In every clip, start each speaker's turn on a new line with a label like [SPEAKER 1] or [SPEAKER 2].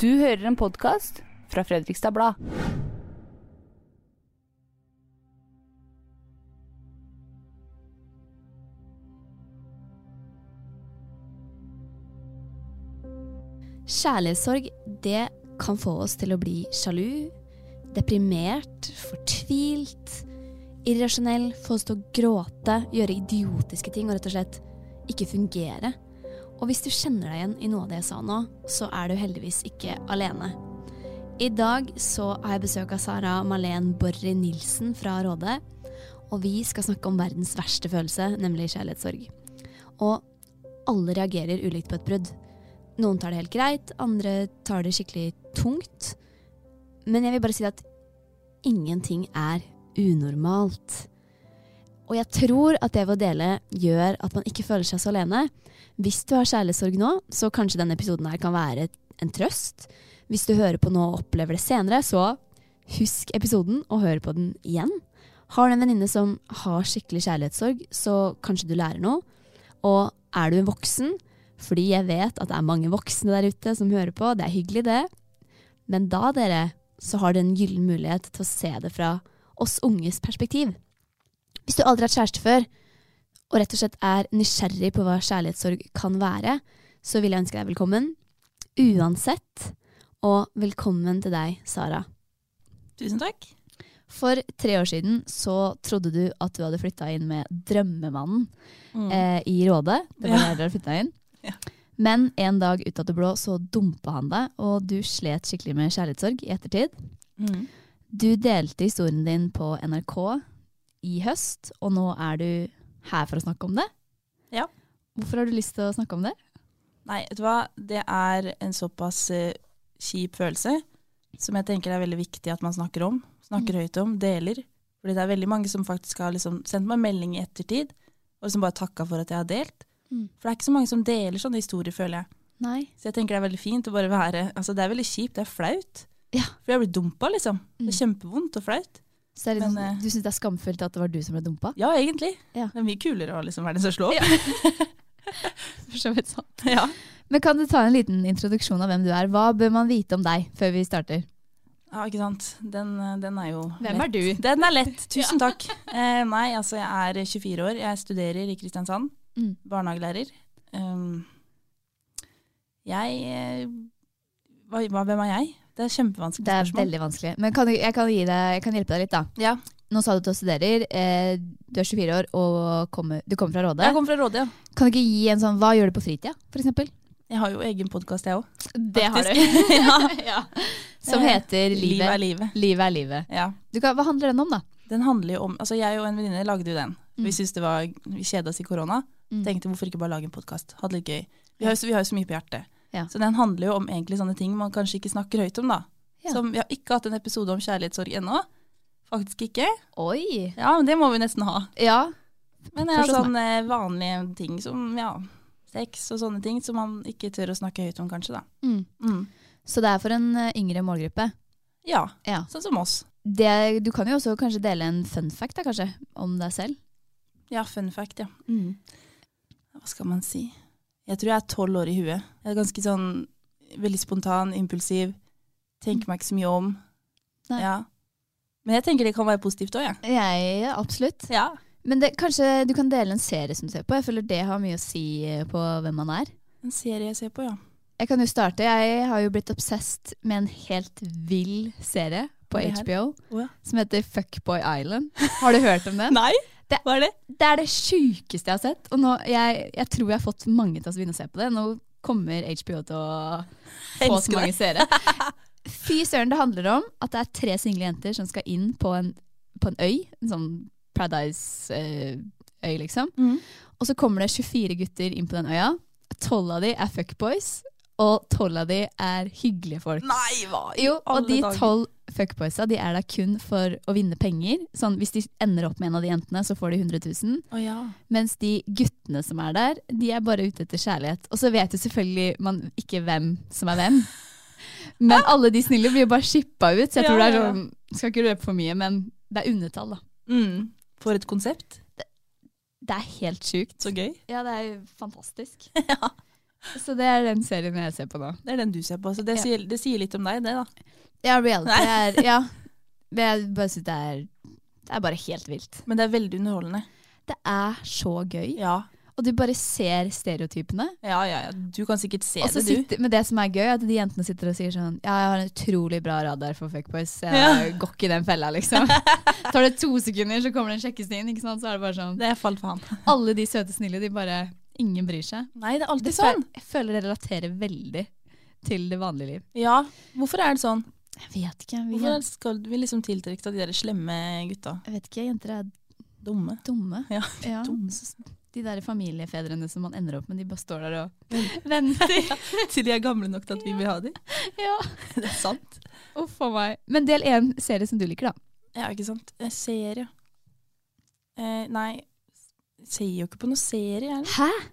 [SPEAKER 1] Du hører en podkast fra Fredrikstad Blad.
[SPEAKER 2] Kjærlighetssorg, det kan få oss til å bli sjalu, deprimert, fortvilt, irrasjonell, få oss til å gråte, gjøre idiotiske ting og rett og slett ikke fungere. Og hvis du kjenner deg igjen i noe av det jeg sa nå, så er du heldigvis ikke alene. I dag så har jeg besøk av Sara Malene Borri Nilsen fra Råde, og vi skal snakke om verdens verste følelse, nemlig kjærlighetssorg. Og alle reagerer ulikt på et brudd. Noen tar det helt greit, andre tar det skikkelig tungt. Men jeg vil bare si at ingenting er unormalt. Og jeg tror at det ved å dele gjør at man ikke føler seg så alene. Hvis du har kjærlighetssorg nå, så kanskje denne episoden her kan være en trøst. Hvis du hører på nå og opplever det senere, så husk episoden og hør på den igjen. Har du en venninne som har skikkelig kjærlighetssorg, så kanskje du lærer noe. Og er du en voksen, fordi jeg vet at det er mange voksne der ute som hører på, det er hyggelig det. Men da, dere, så har du en gyllen mulighet til å se det fra oss unges perspektiv. Hvis du aldri har hatt kjæreste før, og rett og slett er nysgjerrig på hva kjærlighetssorg kan være, så vil jeg ønske deg velkommen. Uansett. Og velkommen til deg, Sara.
[SPEAKER 3] Tusen takk.
[SPEAKER 2] For tre år siden så trodde du at du hadde flytta inn med drømmemannen eh, i Råde. Det var
[SPEAKER 3] Mm. Ja.
[SPEAKER 2] der dere flytta inn.
[SPEAKER 3] Ja.
[SPEAKER 2] Men en dag ut av det blå så dumpa han deg, og du slet skikkelig med kjærlighetssorg i ettertid. Mm. Du delte historien din på NRK i høst, og nå er du her for å snakke om det.
[SPEAKER 3] Ja.
[SPEAKER 2] Hvorfor har du lyst til å snakke om det?
[SPEAKER 3] Nei, vet du hva? Det er en såpass eh, kjip følelse som jeg tenker er veldig viktig at man snakker om. Snakker
[SPEAKER 2] Mm.
[SPEAKER 3] høyt om, deler. Fordi det er veldig mange som faktisk har liksom sendt meg melding i ettertid, og som bare takka for at jeg har delt.
[SPEAKER 2] Mm.
[SPEAKER 3] For det er ikke så mange som deler sånne historier, føler jeg.
[SPEAKER 2] Nei.
[SPEAKER 3] Så jeg tenker det er veldig fint å bare være Altså, det er veldig kjipt, det er flaut.
[SPEAKER 2] Ja. Mm.
[SPEAKER 3] For jeg blir dumpa, liksom. Det er kjempevondt og flaut.
[SPEAKER 2] Så det er litt
[SPEAKER 3] Men,
[SPEAKER 2] sånn-
[SPEAKER 3] eh,
[SPEAKER 2] du syns det er skamfullt at det var du som ble dumpa?
[SPEAKER 3] Ja, egentlig.
[SPEAKER 2] Ja.
[SPEAKER 3] Det er mye kulere å liksom være den som slår
[SPEAKER 2] Ja.
[SPEAKER 3] opp.
[SPEAKER 2] For så vidt sånn.
[SPEAKER 3] Ja.
[SPEAKER 2] Men kan du ta en liten introduksjon av hvem du er? Hva bør man vite om deg før vi starter?
[SPEAKER 3] Ja, ikke sant. Den, eh, den er jo
[SPEAKER 2] Hvem er
[SPEAKER 3] lett.
[SPEAKER 2] du?
[SPEAKER 3] Den er lett. Tusen takk. Eh, nei, altså jeg er 24 år. Jeg studerer i Kristiansand.
[SPEAKER 2] Mm.
[SPEAKER 3] Barnehagelærer. Um, jeg eh, hva, hva, Hvem er jeg? Det er kjempevanskelig
[SPEAKER 2] Det er
[SPEAKER 3] spørsmål.
[SPEAKER 2] veldig vanskelig. Men kan, du- jeg, kan gi deg, jeg kan hjelpe deg litt, da.
[SPEAKER 3] Ja.
[SPEAKER 2] Nå sa du at du studerer. Eh, du er 24 år og kommer, du kommer fra Råde.
[SPEAKER 3] Jeg kommer fra Råde, ja.
[SPEAKER 2] Kan du ikke gi en sånn Hva gjør du på fritida, f.eks.?
[SPEAKER 3] Jeg har jo egen podkast, jeg òg.
[SPEAKER 2] Det
[SPEAKER 3] Faktisk.
[SPEAKER 2] du. ja. Som heter
[SPEAKER 3] Livet
[SPEAKER 2] Livet.
[SPEAKER 3] er livet.
[SPEAKER 2] Livet er livet.
[SPEAKER 3] Ja.
[SPEAKER 2] Eh, Du kan, hva handler den om, da?
[SPEAKER 3] Den handler jo om Altså, jeg og en venninne lagde jo den. Vi syntes det var Vi kjeda oss i korona.
[SPEAKER 2] Mm.
[SPEAKER 3] Tenkte hvorfor ikke bare lage en podkast? Hadde det litt gøy. Vi har, jo så- vi har jo så mye på hjertet.
[SPEAKER 2] Ja.
[SPEAKER 3] Så den handler jo om egentlig sånne ting man kanskje ikke snakker høyt om, da.
[SPEAKER 2] Ja.
[SPEAKER 3] Som vi har ikke hatt en episode om kjærlighetssorg ennå. Faktisk ikke.
[SPEAKER 2] Oi!
[SPEAKER 3] Ja, men det må vi nesten ha.
[SPEAKER 2] Ja.
[SPEAKER 3] Men det er
[SPEAKER 2] Forstått
[SPEAKER 3] sånne eh, vanlige ting som ja, sex og sånne ting som man ikke tør å snakke høyt om, kanskje, da.
[SPEAKER 2] Mm.
[SPEAKER 3] Mm.
[SPEAKER 2] Så det er for en eh, yngre målgruppe.
[SPEAKER 3] Ja.
[SPEAKER 2] Ja.
[SPEAKER 3] Sånn som oss.
[SPEAKER 2] Det, du kan jo også kanskje dele en fun fact da, kanskje, om deg selv.
[SPEAKER 3] Ja, fun fact, ja.
[SPEAKER 2] Mm.
[SPEAKER 3] Hva skal man si? Jeg tror jeg er tolv år i huet. Jeg er ganske sånn veldig spontan, impulsiv. Tenker meg ikke så mye om.
[SPEAKER 2] Nei.
[SPEAKER 3] Ja. Men jeg tenker det kan være positivt òg, jeg.
[SPEAKER 2] Jeg, absolutt.
[SPEAKER 3] Ja.
[SPEAKER 2] Men det, kanskje du kan dele en serie som du ser på. Jeg føler det har mye å si eh, på hvem man er.
[SPEAKER 3] En serie jeg ser på, ja.
[SPEAKER 2] Jeg kan jo starte. Jeg har jo blitt obsessed med en helt vill serie på
[SPEAKER 3] Det her?
[SPEAKER 2] HBO
[SPEAKER 3] Å ja.
[SPEAKER 2] som heter Fuckboy Island. Har du hørt om den?
[SPEAKER 3] Nei,
[SPEAKER 2] Det-
[SPEAKER 3] hva er det?
[SPEAKER 2] Det er det sjukeste jeg har sett. Og nå, jeg, jeg tror jeg har fått mange til å begynne å se på det. Nå kommer HBO til å få så mange seere. Fy søren, det handler om at det er tre single jenter som skal inn på en, på en øy. En sånn Paradise-øy, liksom.
[SPEAKER 3] Mhm.
[SPEAKER 2] Og så kommer det 24 gutter inn på den øya. Tolv av de er fuckboys, og tolv av de er hyggelige folk.
[SPEAKER 3] Nei, hva i
[SPEAKER 2] Jo, og
[SPEAKER 3] alle
[SPEAKER 2] de
[SPEAKER 3] dager?
[SPEAKER 2] tolv fuckboysa de er der kun for å vinne penger. Sånn, hvis de ender opp med en av de jentene, så får de 100 000.
[SPEAKER 3] Å ja.
[SPEAKER 2] Mens de guttene som er der, de er bare ute etter kjærlighet. Og så vet jo selvfølgelig man ikke hvem som er hvem. Men alle de snille blir jo bare shippa ut, så jeg
[SPEAKER 3] Ja,
[SPEAKER 2] tror det er
[SPEAKER 3] ja, ja.
[SPEAKER 2] sånn Skal ikke røpe for mye, men det er undertall, da.
[SPEAKER 3] Mm. For et konsept.
[SPEAKER 2] Det er helt sjukt.
[SPEAKER 3] Så gøy.
[SPEAKER 2] Ja, det er jo fantastisk. Så det er den serien jeg ser på nå.
[SPEAKER 3] Det er den du ser på. Så det,
[SPEAKER 2] Ja.
[SPEAKER 3] sier, det sier litt om deg, det, da.
[SPEAKER 2] Ja, reality
[SPEAKER 3] Nei.
[SPEAKER 2] er Ja. Men jeg bare synes det er Det er bare helt vilt.
[SPEAKER 3] Men det er veldig underholdende.
[SPEAKER 2] Det er så gøy.
[SPEAKER 3] Ja,
[SPEAKER 2] Og du bare ser stereotypene.
[SPEAKER 3] ja, ja. ja. Du kan sikkert se
[SPEAKER 2] Og så
[SPEAKER 3] det, du.
[SPEAKER 2] sitter, men det som er gøy, er at de jentene sitter og sier sånn Ja, jeg har en utrolig bra radar for fuckboys. så Jeg
[SPEAKER 3] Ja.
[SPEAKER 2] går ikke i den fella, liksom. Tar det to sekunder, så kommer det en sjekkestien, ikke sant. Så er det bare sånn.
[SPEAKER 3] Det er fall for han.
[SPEAKER 2] Alle de søte, snille, de bare Ingen bryr seg.
[SPEAKER 3] Nei, det er alltid
[SPEAKER 2] Det
[SPEAKER 3] sånn.
[SPEAKER 2] sånn. Jeg føler det relaterer veldig til det vanlige liv.
[SPEAKER 3] Ja, hvorfor er det sånn?
[SPEAKER 2] Jeg vet ikke. Vi
[SPEAKER 3] Hvorfor skal vi liksom tiltrekke oss av de der slemme gutta?
[SPEAKER 2] Jeg vet ikke, jenter er
[SPEAKER 3] Dumme.
[SPEAKER 2] dumme.
[SPEAKER 3] Ja,
[SPEAKER 2] Ja,
[SPEAKER 3] dumme.
[SPEAKER 2] så- De der familiefedrene som man ender opp med, de bare står der og venter.
[SPEAKER 3] Til de er gamle nok til at vi vil ha de.
[SPEAKER 2] ja,
[SPEAKER 3] Det er sant.
[SPEAKER 2] uff a meg. Men del én serie som du liker, da.
[SPEAKER 3] Ja, ikke sant. Eh, Serie. Eh, nei, ser jo ikke på noe serie, jeg. heller.
[SPEAKER 2] Hæ?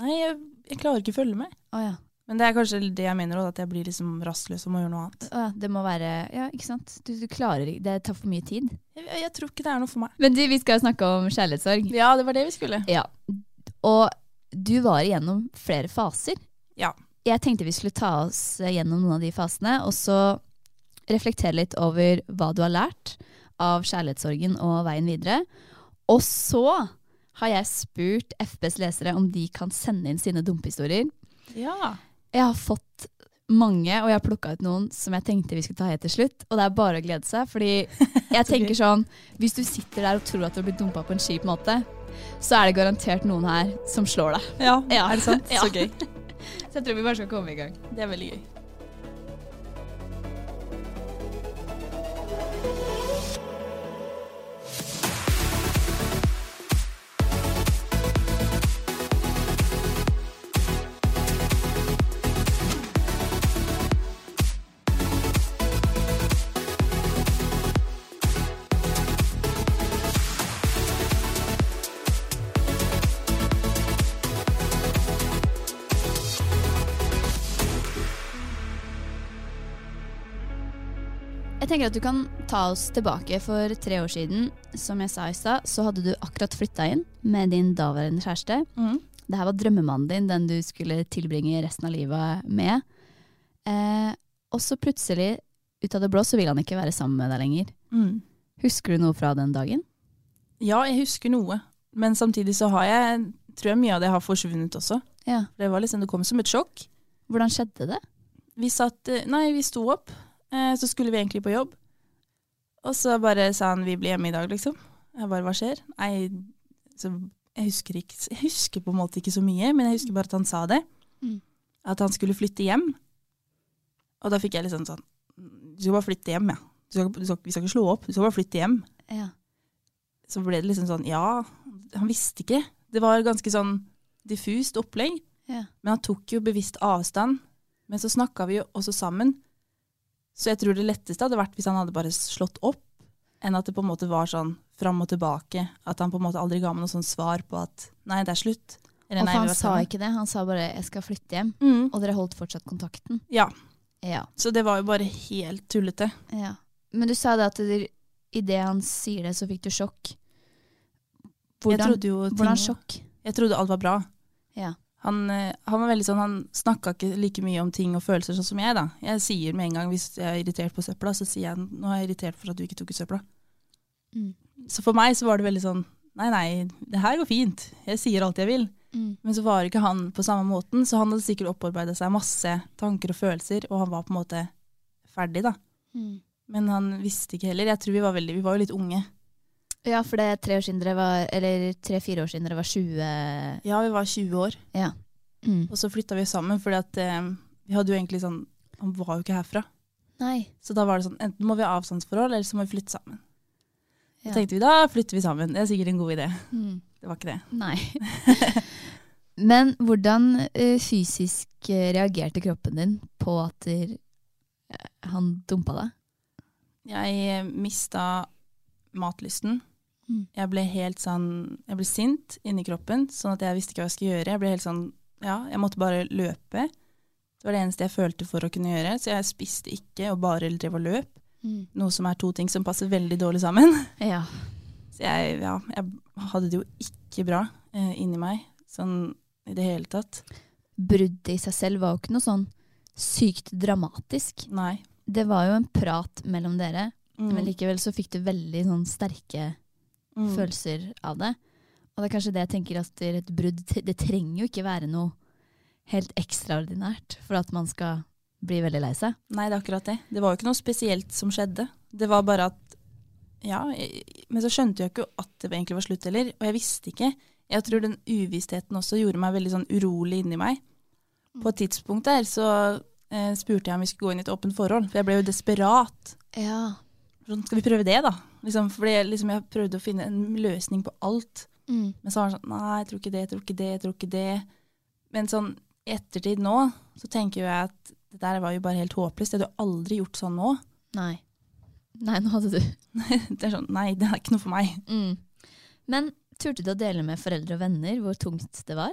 [SPEAKER 3] Nei, jeg, jeg klarer ikke å følge med.
[SPEAKER 2] Å ja.
[SPEAKER 3] Men det er kanskje det jeg mener òg, at jeg blir liksom rastløs og må gjøre noe annet.
[SPEAKER 2] Å ja, Det må være Ja, ikke sant. Du, du klarer ikke Det tar for mye tid.
[SPEAKER 3] Jeg, jeg tror ikke det er noe for meg.
[SPEAKER 2] Men du, vi skal snakke om kjærlighetssorg.
[SPEAKER 3] Ja, det var det vi skulle.
[SPEAKER 2] Ja. Og du var igjennom flere faser.
[SPEAKER 3] Ja.
[SPEAKER 2] Jeg tenkte vi skulle ta oss gjennom noen av de fasene, og så reflektere litt over hva du har lært av kjærlighetssorgen og veien videre. Og så har jeg spurt FBs lesere om de kan sende inn sine dumpehistorier.
[SPEAKER 3] Ja.
[SPEAKER 2] Jeg har fått mange, og jeg har plukka ut noen som jeg tenkte vi skulle ta helt til slutt. Og det er bare å glede seg, fordi jeg tenker sånn Hvis du sitter der og tror at du har blitt dumpa på en kjip måte, så er det garantert noen her som slår deg.
[SPEAKER 3] ja.
[SPEAKER 2] Ja.
[SPEAKER 3] Er det sant?
[SPEAKER 2] Ja.
[SPEAKER 3] Så gøy.
[SPEAKER 2] Så jeg tror vi bare skal komme i gang.
[SPEAKER 3] Det er veldig gøy.
[SPEAKER 2] Jeg tenker at du kan ta oss tilbake for tre år siden. Som jeg sa i stad, så hadde du akkurat flytta inn med din daværende kjæreste.
[SPEAKER 3] Mhm.
[SPEAKER 2] Det her var drømmemannen din, den du skulle tilbringe resten av livet med. Eh, og så plutselig, ut av det blå, så vil han ikke være sammen med deg lenger. Husker du noe fra den dagen?
[SPEAKER 3] Mm. Ja, jeg husker noe. Men samtidig så har jeg, tror jeg mye av det har forsvunnet også.
[SPEAKER 2] Ja.
[SPEAKER 3] Det var liksom, det kom som et sjokk.
[SPEAKER 2] Hvordan skjedde det?
[SPEAKER 3] Vi satt, eh, nei, vi sto opp, eh, så skulle vi egentlig på jobb. Og så bare sa han, vi blir hjemme i dag, liksom. Jeg bare, hva skjer? Nei, så jeg husker ikke, jeg husker på en måte ikke så mye, men jeg husker bare at han sa det.
[SPEAKER 2] Mm.
[SPEAKER 3] At han skulle flytte hjem. Og da fikk jeg liksom sånn, du skal bare flytte hjem, ja. Du skal, du skal, vi skal ikke slå opp, du skal bare flytte hjem.
[SPEAKER 2] Ja.
[SPEAKER 3] så ble det liksom sånn Ja, han visste ikke. Det var ganske sånn diffust opplegg.
[SPEAKER 2] Ja.
[SPEAKER 3] Men han tok jo bevisst avstand. Men så snakka vi jo også sammen. Så jeg tror det letteste hadde vært hvis han hadde bare slått opp, enn at det på en måte var sånn fram og tilbake. At han på en måte aldri ga meg noe sånn svar på at nei, det er slutt. Eller
[SPEAKER 2] Og for
[SPEAKER 3] nei, vi
[SPEAKER 2] han
[SPEAKER 3] var
[SPEAKER 2] sa
[SPEAKER 3] sammen.
[SPEAKER 2] ikke det, han sa bare 'jeg skal flytte hjem',
[SPEAKER 3] Mm.
[SPEAKER 2] og dere holdt fortsatt kontakten?
[SPEAKER 3] Ja.
[SPEAKER 2] Ja.
[SPEAKER 3] Så det var jo bare helt tullete.
[SPEAKER 2] ja. Men du sa det at dere- i idet han sier det, så fikk du sjokk.
[SPEAKER 3] jeg
[SPEAKER 2] Hvordan,
[SPEAKER 3] trodde jo ting
[SPEAKER 2] hvordan
[SPEAKER 3] var-
[SPEAKER 2] sjokk?
[SPEAKER 3] Jeg trodde alt var bra.
[SPEAKER 2] Ja.
[SPEAKER 3] Han, eh, han var veldig sånn, han snakka ikke like mye om ting og følelser sånn som jeg. da. Jeg sier med en gang hvis jeg er irritert på søpla, så sier jeg nå er jeg irritert for at du ikke tok ut søpla.
[SPEAKER 2] Mm.
[SPEAKER 3] Så for meg så var det veldig sånn nei, nei, det her går fint. Jeg sier alt jeg vil.
[SPEAKER 2] Mm.
[SPEAKER 3] Men så var ikke han på samme måten, så han hadde sikkert opparbeida seg masse tanker og følelser, og han var på en måte ferdig, da.
[SPEAKER 2] Mm.
[SPEAKER 3] Men han visste ikke heller. Jeg tror vi var veldig, vi var jo litt unge.
[SPEAKER 2] Ja, for det er tre år siden dere var Eller tre-fire år siden dere var eh, 20
[SPEAKER 3] Ja, vi var 20 år,
[SPEAKER 2] Ja. Mm.
[SPEAKER 3] og så flytta vi sammen fordi at eh, vi hadde jo egentlig sånn Han var jo ikke herfra.
[SPEAKER 2] Nei.
[SPEAKER 3] Så da var det sånn, enten må vi ha avstandsforhold, eller så må vi flytte sammen.
[SPEAKER 2] Ja.
[SPEAKER 3] Da tenkte vi, da flytter vi sammen. Det er sikkert en god idé.
[SPEAKER 2] Mm.
[SPEAKER 3] Det var ikke det.
[SPEAKER 2] Nei. Men hvordan eh, fysisk eh, reagerte kroppen din på at eh, han dumpa deg?
[SPEAKER 3] Jeg mista matlysten.
[SPEAKER 2] Mm.
[SPEAKER 3] Jeg ble helt sånn Jeg ble sint inni kroppen, sånn at jeg visste ikke hva jeg skulle gjøre. Jeg ble helt sånn Ja, jeg måtte bare løpe. Det var det eneste jeg følte for å kunne gjøre, så jeg spiste ikke og bare drev og løp. Noe som er to ting som passer veldig dårlig sammen.
[SPEAKER 2] Ja.
[SPEAKER 3] Så jeg, ja, jeg hadde det jo ikke bra eh, inni meg, sånn i det hele tatt.
[SPEAKER 2] Bruddet i seg selv var jo ikke noe sånn sykt dramatisk.
[SPEAKER 3] Nei.
[SPEAKER 2] Det var jo en prat mellom dere,
[SPEAKER 3] Mm.
[SPEAKER 2] men likevel så fikk du veldig sånn sterke
[SPEAKER 3] Mm.
[SPEAKER 2] følelser av det. Og det er kanskje det jeg tenker at det er et brudd t- Det trenger jo ikke være noe helt ekstraordinært for at man skal bli veldig lei seg.
[SPEAKER 3] Nei, det er akkurat det. Det var jo ikke noe spesielt som skjedde. Det var bare at Ja, jeg, men så skjønte jeg jo ikke at det egentlig var slutt heller, og jeg visste ikke. Jeg tror den uvissheten også gjorde meg veldig sånn urolig inni meg. På et tidspunkt der så eh, spurte jeg om vi skulle gå inn i et åpent forhold, for jeg ble jo desperat.
[SPEAKER 2] Ja.
[SPEAKER 3] Sånn, skal vi prøve det, da? Liksom, fordi jeg- liksom, jeg prøvde å finne en løsning på alt. Men så var han sånn Nei, jeg tror ikke det, jeg tror ikke det, jeg tror ikke det. Men sånn i ettertid nå, så tenker jo jeg at det der var jo bare helt håpløst. Jeg hadde jo aldri gjort sånn nå.
[SPEAKER 2] Nei. Nei, nå hadde du
[SPEAKER 3] Det er sånn Nei, det er ikke noe for meg.
[SPEAKER 2] Mm. Men turte du å dele med foreldre og venner hvor tungt det var?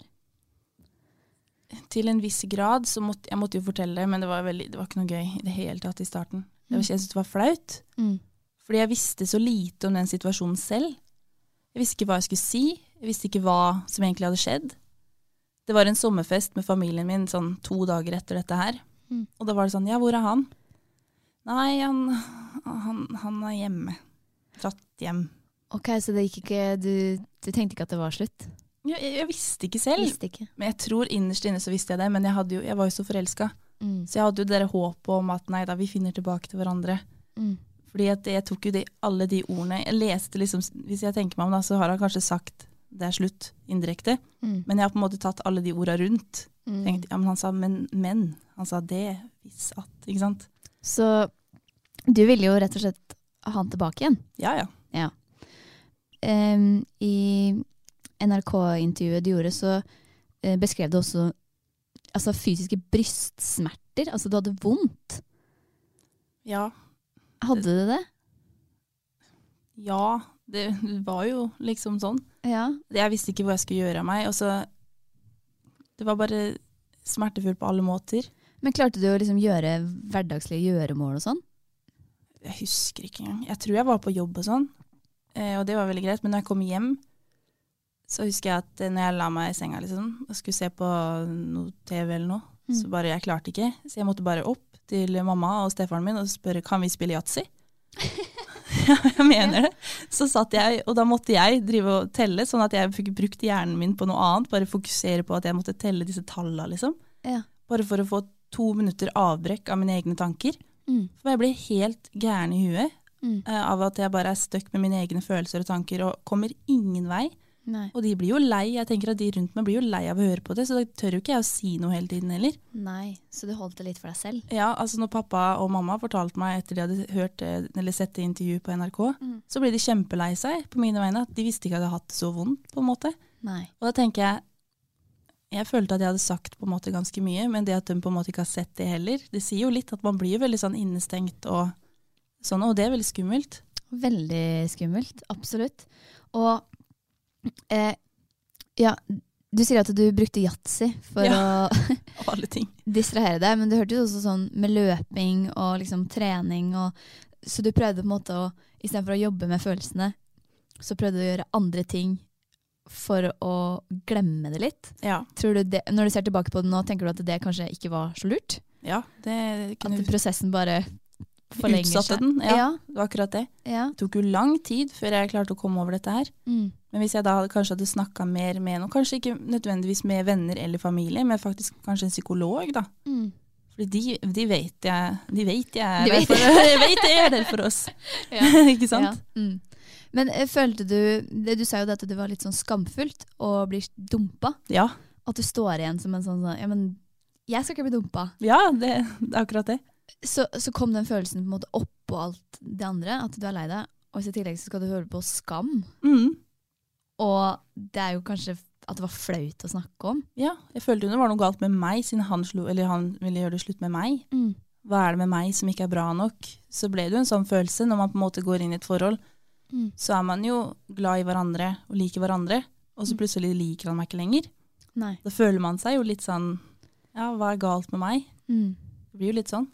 [SPEAKER 3] Til en viss grad så måtte jeg måtte jo fortelle det, men det var, veldig, det var ikke noe gøy i det hele tatt i starten. Det var, jeg syntes det var flaut.
[SPEAKER 2] Mm.
[SPEAKER 3] Fordi jeg visste så lite om den situasjonen selv. Jeg visste ikke hva jeg skulle si. Jeg visste ikke hva som egentlig hadde skjedd. Det var en sommerfest med familien min sånn to dager etter dette her.
[SPEAKER 2] Mm.
[SPEAKER 3] Og da var det sånn, ja, hvor er han? Nei, han, han, han er hjemme. Dratt hjem.
[SPEAKER 2] Ok, så det gikk ikke, du, du tenkte ikke at det var slutt?
[SPEAKER 3] Jeg, jeg, jeg visste ikke selv.
[SPEAKER 2] Visste ikke.
[SPEAKER 3] Men jeg tror innerst inne så visste jeg det, men jeg, hadde jo, jeg var jo så forelska.
[SPEAKER 2] Mm.
[SPEAKER 3] Så jeg hadde jo det der håpet om at nei da, vi finner tilbake til hverandre.
[SPEAKER 2] Mm.
[SPEAKER 3] Fordi at jeg tok jo de, alle de ordene Jeg leste liksom, Hvis jeg tenker meg om, da, så har han kanskje sagt det er slutt, indirekte.
[SPEAKER 2] Mm.
[SPEAKER 3] Men jeg har på en måte tatt alle de orda rundt.
[SPEAKER 2] Mm.
[SPEAKER 3] Tenkt, ja, men han sa men, men. Han sa det, hvis at. Ikke sant?
[SPEAKER 2] Så du ville jo rett og slett ha han tilbake igjen?
[SPEAKER 3] Ja, ja.
[SPEAKER 2] Em, I NRK-intervjuet du gjorde, så eh, beskrev du også altså, fysiske brystsmerter. Altså du hadde vondt.
[SPEAKER 3] Ja.
[SPEAKER 2] Hadde du det?
[SPEAKER 3] ja. Det var jo liksom sånn.
[SPEAKER 2] Ja.
[SPEAKER 3] Jeg visste ikke hvor jeg skulle gjøre av meg. Og så Det var bare smertefullt på alle måter.
[SPEAKER 2] Men klarte du å liksom gjøre hverdagslige gjøremål og sånn?
[SPEAKER 3] Jeg husker ikke engang. Jeg tror jeg var på jobb og sånn, eh, og det var veldig greit. Men når jeg kom hjem, så husker jeg at eh, når jeg la meg i senga liksom, og skulle se på noe TV eller noe, så bare jeg klarte ikke. Så jeg måtte bare opp til mamma og stefaren min og spørre kan vi spille yatzy. ja, jeg mener det. Så satt jeg, og da måtte jeg drive og telle, sånn at jeg fikk brukt hjernen min på noe annet. Bare fokusere på at jeg måtte telle disse tallene, liksom.
[SPEAKER 2] Ja.
[SPEAKER 3] Bare for å få to minutter avbrekk av mine egne tanker.
[SPEAKER 2] Mm.
[SPEAKER 3] For jeg blir helt gæren i huet
[SPEAKER 2] Mm.
[SPEAKER 3] eh, av at jeg bare er stuck med mine egne følelser og tanker og kommer ingen vei.
[SPEAKER 2] Nei.
[SPEAKER 3] Og de blir jo lei. Jeg tenker at de rundt meg blir jo lei av å høre på det, så da tør jo ikke jeg å si noe hele tiden heller.
[SPEAKER 2] Nei, så du holdt det litt for deg selv?
[SPEAKER 3] Ja, altså når pappa og mamma fortalte meg etter de hadde hørt eh, eller sett det intervjuet på NRK,
[SPEAKER 2] Mm.
[SPEAKER 3] så ble de kjempelei seg på mine vegne. At de visste ikke at jeg hadde hatt det så vondt, på en måte.
[SPEAKER 2] Nei.
[SPEAKER 3] Og da tenker jeg Jeg følte at jeg hadde sagt på en måte ganske mye, men det at de på en måte ikke har sett det heller, det sier jo litt at man blir jo veldig sånn innestengt og sånn, og det er veldig skummelt.
[SPEAKER 2] Veldig skummelt, absolutt. Og eh, ja, du sier at du brukte yatzy for
[SPEAKER 3] Ja.
[SPEAKER 2] å
[SPEAKER 3] Av alle ting.
[SPEAKER 2] distrahere deg, men du hørte jo også sånn med løping og liksom trening og Så du prøvde på en måte å Istedenfor å jobbe med følelsene, så prøvde du å gjøre andre ting for å glemme det litt.
[SPEAKER 3] Ja.
[SPEAKER 2] Tror du det, når du ser tilbake på det nå, tenker du at det kanskje ikke var så lurt?
[SPEAKER 3] ja det
[SPEAKER 2] At
[SPEAKER 3] kunne
[SPEAKER 2] prosessen bare forlenger seg?
[SPEAKER 3] utsatte den. Ja,
[SPEAKER 2] Ja.
[SPEAKER 3] Det var akkurat det.
[SPEAKER 2] ja.
[SPEAKER 3] Det tok jo lang tid før jeg klarte å komme over dette her.
[SPEAKER 2] Mm.
[SPEAKER 3] Men hvis jeg da hadde- kanskje hadde snakka mer med noen, kanskje ikke nødvendigvis med venner eller familie, men faktisk kanskje en psykolog, da.
[SPEAKER 2] Mm.
[SPEAKER 3] Fordi de, de vet jeg De vet jeg er
[SPEAKER 2] De
[SPEAKER 3] der
[SPEAKER 2] vet-
[SPEAKER 3] for, jeg vet jeg er der for oss. ikke sant?
[SPEAKER 2] Ja. Mm. Men eh, følte du det, Du sa jo det at det var litt sånn skamfullt å bli dumpa.
[SPEAKER 3] Ja.
[SPEAKER 2] At du står igjen som en sånn sånn, Ja, men jeg skal ikke bli dumpa.
[SPEAKER 3] ja, det det er akkurat det.
[SPEAKER 2] Så, så kom den følelsen på en måte oppå alt det andre, at du er lei deg. Og hvis i tillegg så skal du høre på skam.
[SPEAKER 3] Mm.
[SPEAKER 2] Og det er jo kanskje at det var flaut å snakke om.
[SPEAKER 3] Ja, jeg følte jo det var noe galt med meg, siden han, slo, eller han ville gjøre det slutt med meg.
[SPEAKER 2] Mm.
[SPEAKER 3] Hva er det med meg som ikke er bra nok? Så ble det jo en sånn følelse når man på en måte går inn i et forhold.
[SPEAKER 2] Mm.
[SPEAKER 3] Så er man jo glad i hverandre og liker hverandre, og så plutselig liker han meg ikke lenger.
[SPEAKER 2] Nei.
[SPEAKER 3] Da føler man seg jo litt sånn Ja, hva er galt med meg?
[SPEAKER 2] Mm.
[SPEAKER 3] Det blir jo litt sånn.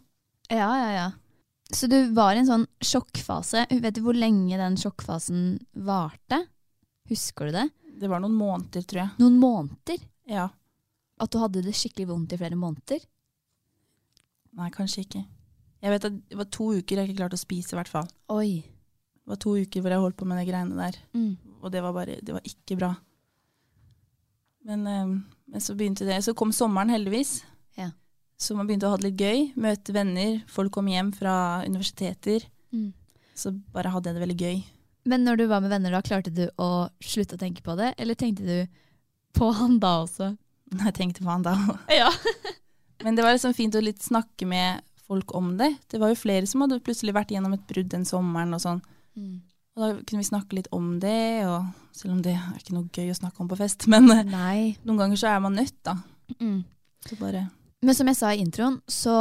[SPEAKER 2] Ja, ja, ja. Så du var i en sånn sjokkfase. Vet du hvor lenge den sjokkfasen varte? Husker du det?
[SPEAKER 3] Det var noen måneder, tror jeg.
[SPEAKER 2] Noen måneder?
[SPEAKER 3] Ja.
[SPEAKER 2] At du hadde det skikkelig vondt i flere måneder?
[SPEAKER 3] Nei, kanskje ikke. Jeg vet at Det var to uker jeg ikke klarte å spise, i hvert fall.
[SPEAKER 2] Oi.
[SPEAKER 3] Det var to uker hvor jeg holdt på med de greiene der,
[SPEAKER 2] Mm.
[SPEAKER 3] og det var bare Det var ikke bra. Men, eh, men så begynte det. Så kom sommeren, heldigvis.
[SPEAKER 2] Ja.
[SPEAKER 3] Så man begynte å ha det litt gøy. Møte venner. Folk kom hjem fra universiteter.
[SPEAKER 2] Mm.
[SPEAKER 3] Så bare hadde jeg det veldig gøy.
[SPEAKER 2] Men når du var med venner da, klarte du å slutte å tenke på det? Eller tenkte du på han da også?
[SPEAKER 3] Når jeg tenkte på han da.
[SPEAKER 2] Ja.
[SPEAKER 3] Men det var liksom fint å litt snakke med folk om det. Det var jo flere som hadde plutselig vært gjennom et brudd den sommeren og sånn.
[SPEAKER 2] Mm.
[SPEAKER 3] Og da kunne vi snakke litt om det, og selv om det er ikke noe gøy å snakke om på fest, men eh,
[SPEAKER 2] Nei.
[SPEAKER 3] noen ganger så er man nødt, da.
[SPEAKER 2] Mm.
[SPEAKER 3] Så bare
[SPEAKER 2] Men som jeg sa i introen, så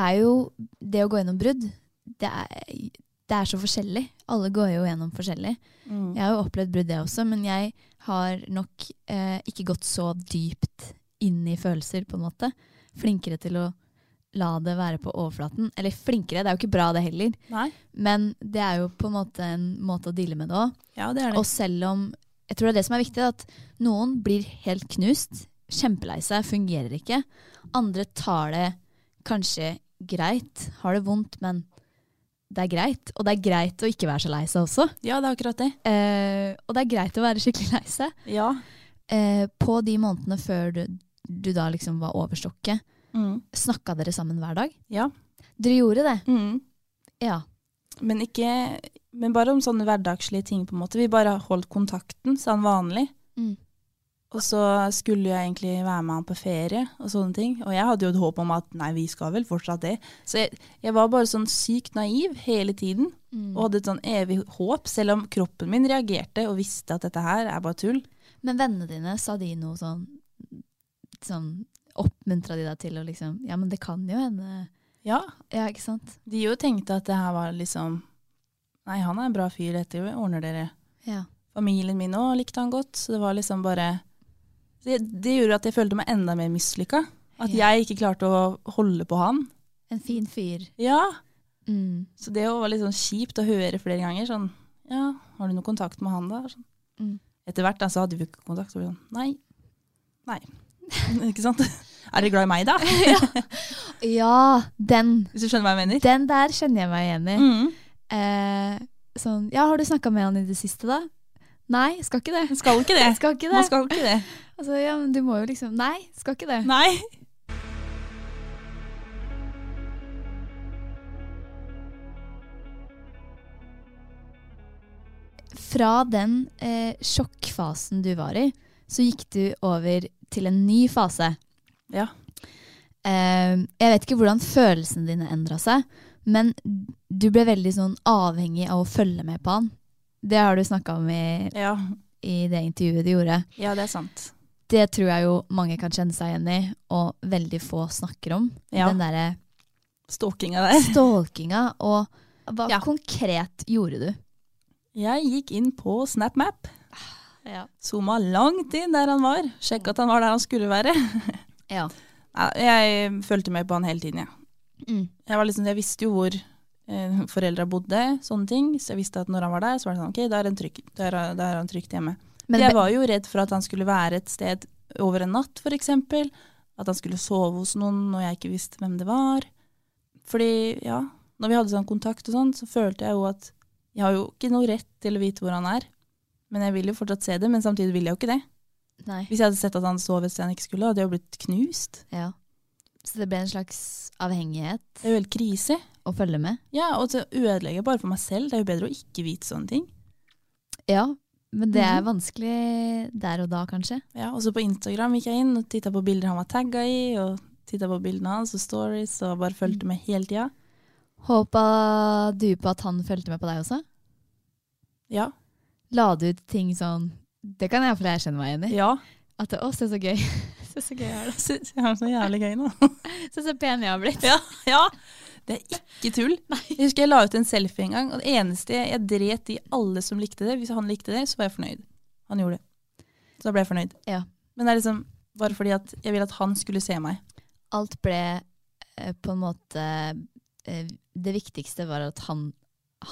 [SPEAKER 2] er jo det å gå gjennom brudd det er, det er så forskjellig. Alle går jo gjennom forskjellig.
[SPEAKER 3] mm.
[SPEAKER 2] Jeg har jo opplevd brudd, jeg også, men jeg har nok eh, ikke gått så dypt inn i følelser, på en måte. Flinkere til å la det være på overflaten. Eller flinkere, det er jo ikke bra det heller.
[SPEAKER 3] Nei.
[SPEAKER 2] Men det er jo på en måte en måte å deale med det òg.
[SPEAKER 3] Ja, det er det.
[SPEAKER 2] Og selv om Jeg tror det er det som er viktig, at noen blir helt knust, kjempelei seg, fungerer ikke. Andre tar det kanskje greit, har det vondt, men det er greit. Og det er greit å ikke være så lei seg også.
[SPEAKER 3] Ja, det er akkurat det.
[SPEAKER 2] Eh, og det er greit å være skikkelig lei seg.
[SPEAKER 3] Ja.
[SPEAKER 2] Eh, på de månedene før du, du da liksom var over stokket,
[SPEAKER 3] Mm.
[SPEAKER 2] snakka dere sammen hver dag?
[SPEAKER 3] Ja.
[SPEAKER 2] Dere gjorde det?
[SPEAKER 3] Mm.
[SPEAKER 2] Ja.
[SPEAKER 3] Men, ikke, men bare om sånne hverdagslige ting, på en måte. Vi bare holdt kontakten sånn vanlig.
[SPEAKER 2] Mm.
[SPEAKER 3] Og så skulle jeg egentlig være med han på ferie og sånne ting. Og jeg hadde jo et håp om at nei, vi skal vel fortsatt det. Så jeg, jeg var bare sånn sykt naiv hele tiden. Og hadde et sånn evig håp, selv om kroppen min reagerte og visste at dette her er bare tull.
[SPEAKER 2] Men vennene dine, sa de noe sånn, sånn Oppmuntra de deg til å liksom Ja, men det kan jo hende
[SPEAKER 3] Ja,
[SPEAKER 2] Ja, ikke sant?
[SPEAKER 3] de jo tenkte at det her var liksom Nei, han er en bra fyr, dette ordner dere.
[SPEAKER 2] Ja.
[SPEAKER 3] Familien min òg likte han godt, så det var liksom bare Det, det gjorde at jeg følte meg enda mer mislykka. At
[SPEAKER 2] Ja.
[SPEAKER 3] jeg ikke klarte å holde på han.
[SPEAKER 2] En fin fyr.
[SPEAKER 3] Ja,
[SPEAKER 2] Mm.
[SPEAKER 3] Så det var litt sånn kjipt å høre flere ganger. Sånn, ja, har du noe kontakt med han da? Sånn.
[SPEAKER 2] Mm.
[SPEAKER 3] Etter hvert da, så hadde vi ikke kontakt. Og vi sånn, nei. Nei. ikke sant? Er dere glad i meg da?
[SPEAKER 2] Ja, den!
[SPEAKER 3] Hvis du skjønner hva jeg mener.
[SPEAKER 2] Den der kjenner jeg meg igjen i.
[SPEAKER 3] Mm.
[SPEAKER 2] Eh, sånn Ja, har du snakka med han i det siste, da? Nei, skal ikke det.
[SPEAKER 3] Skal ikke det.
[SPEAKER 2] Skal ikke det.
[SPEAKER 3] Man skal ikke det.
[SPEAKER 2] Altså, ja, men du må jo liksom Nei, skal ikke det.
[SPEAKER 3] Nei.
[SPEAKER 2] Fra den eh, sjokkfasen du var i, så gikk du over til en ny fase.
[SPEAKER 3] Ja.
[SPEAKER 2] Eh, jeg vet ikke hvordan følelsene dine endra seg, men du ble veldig sånn avhengig av å følge med på han. Det har du snakka om i,
[SPEAKER 3] Ja.
[SPEAKER 2] i det intervjuet du gjorde.
[SPEAKER 3] ja, det er sant.
[SPEAKER 2] Det tror jeg jo mange kan kjenne seg igjen i, og veldig få snakker om.
[SPEAKER 3] Ja.
[SPEAKER 2] Den derre
[SPEAKER 3] Stalkinga der.
[SPEAKER 2] stalkinga, og hva
[SPEAKER 3] Ja.
[SPEAKER 2] konkret gjorde du?
[SPEAKER 3] Jeg gikk inn på SnapMap. Zooma langt inn der han var. Sjekka at han var der han skulle være.
[SPEAKER 2] Ja.
[SPEAKER 3] Nei, Jeg fulgte med på han hele tiden, jeg.
[SPEAKER 2] Mm.
[SPEAKER 3] Jeg, var liksom, jeg visste jo hvor eh, foreldra bodde, sånne ting. Så jeg visste at når han var der, så var det sånn OK, da er han trygg, da er, da er han trygt hjemme.
[SPEAKER 2] Men,
[SPEAKER 3] jeg var jo redd for at han skulle være et sted over en natt, f.eks. At han skulle sove hos noen når jeg ikke visste hvem det var. Fordi, ja, når vi hadde sånn kontakt og sånn, så følte jeg jo at jeg har jo ikke noe rett til å vite hvor han er. Men jeg vil jo fortsatt se det, men samtidig vil jeg jo ikke det.
[SPEAKER 2] nei.
[SPEAKER 3] Hvis jeg hadde sett at han sov et sted han ikke skulle, hadde jeg jo blitt knust.
[SPEAKER 2] Ja. Så det ble en slags avhengighet
[SPEAKER 3] Det er jo helt krise.
[SPEAKER 2] å følge med?
[SPEAKER 3] Ja, og så ødelegger jeg bare for meg selv. Det er jo bedre å ikke vite sånne ting.
[SPEAKER 2] Ja, men det er vanskelig der og da, kanskje.
[SPEAKER 3] Ja, og så på Instagram gikk jeg inn og titta på bilder han var tagga i, og titta på bildene hans og stories, og bare fulgte med hele tida.
[SPEAKER 2] Håpa du på at han fulgte med på deg også?
[SPEAKER 3] Ja.
[SPEAKER 2] La du ut ting sånn Det kan jeg for jeg kjenner meg igjen i.
[SPEAKER 3] Ja.
[SPEAKER 2] At det, å, se så gøy. Se så gøy jeg er.
[SPEAKER 3] Jeg har det så jævlig gøy nå.
[SPEAKER 2] Se så pen jeg har blitt.
[SPEAKER 3] Ja, ja. Det er ikke tull. Jeg husker jeg la ut en selfie en gang, og det eneste jeg dret i alle som likte det. Hvis han likte det, så var jeg fornøyd. Han gjorde det. Så da ble jeg fornøyd.
[SPEAKER 2] Ja.
[SPEAKER 3] Men det er liksom bare fordi at jeg ville at han skulle se meg.
[SPEAKER 2] Alt ble eh, på en måte eh, Det viktigste var at han,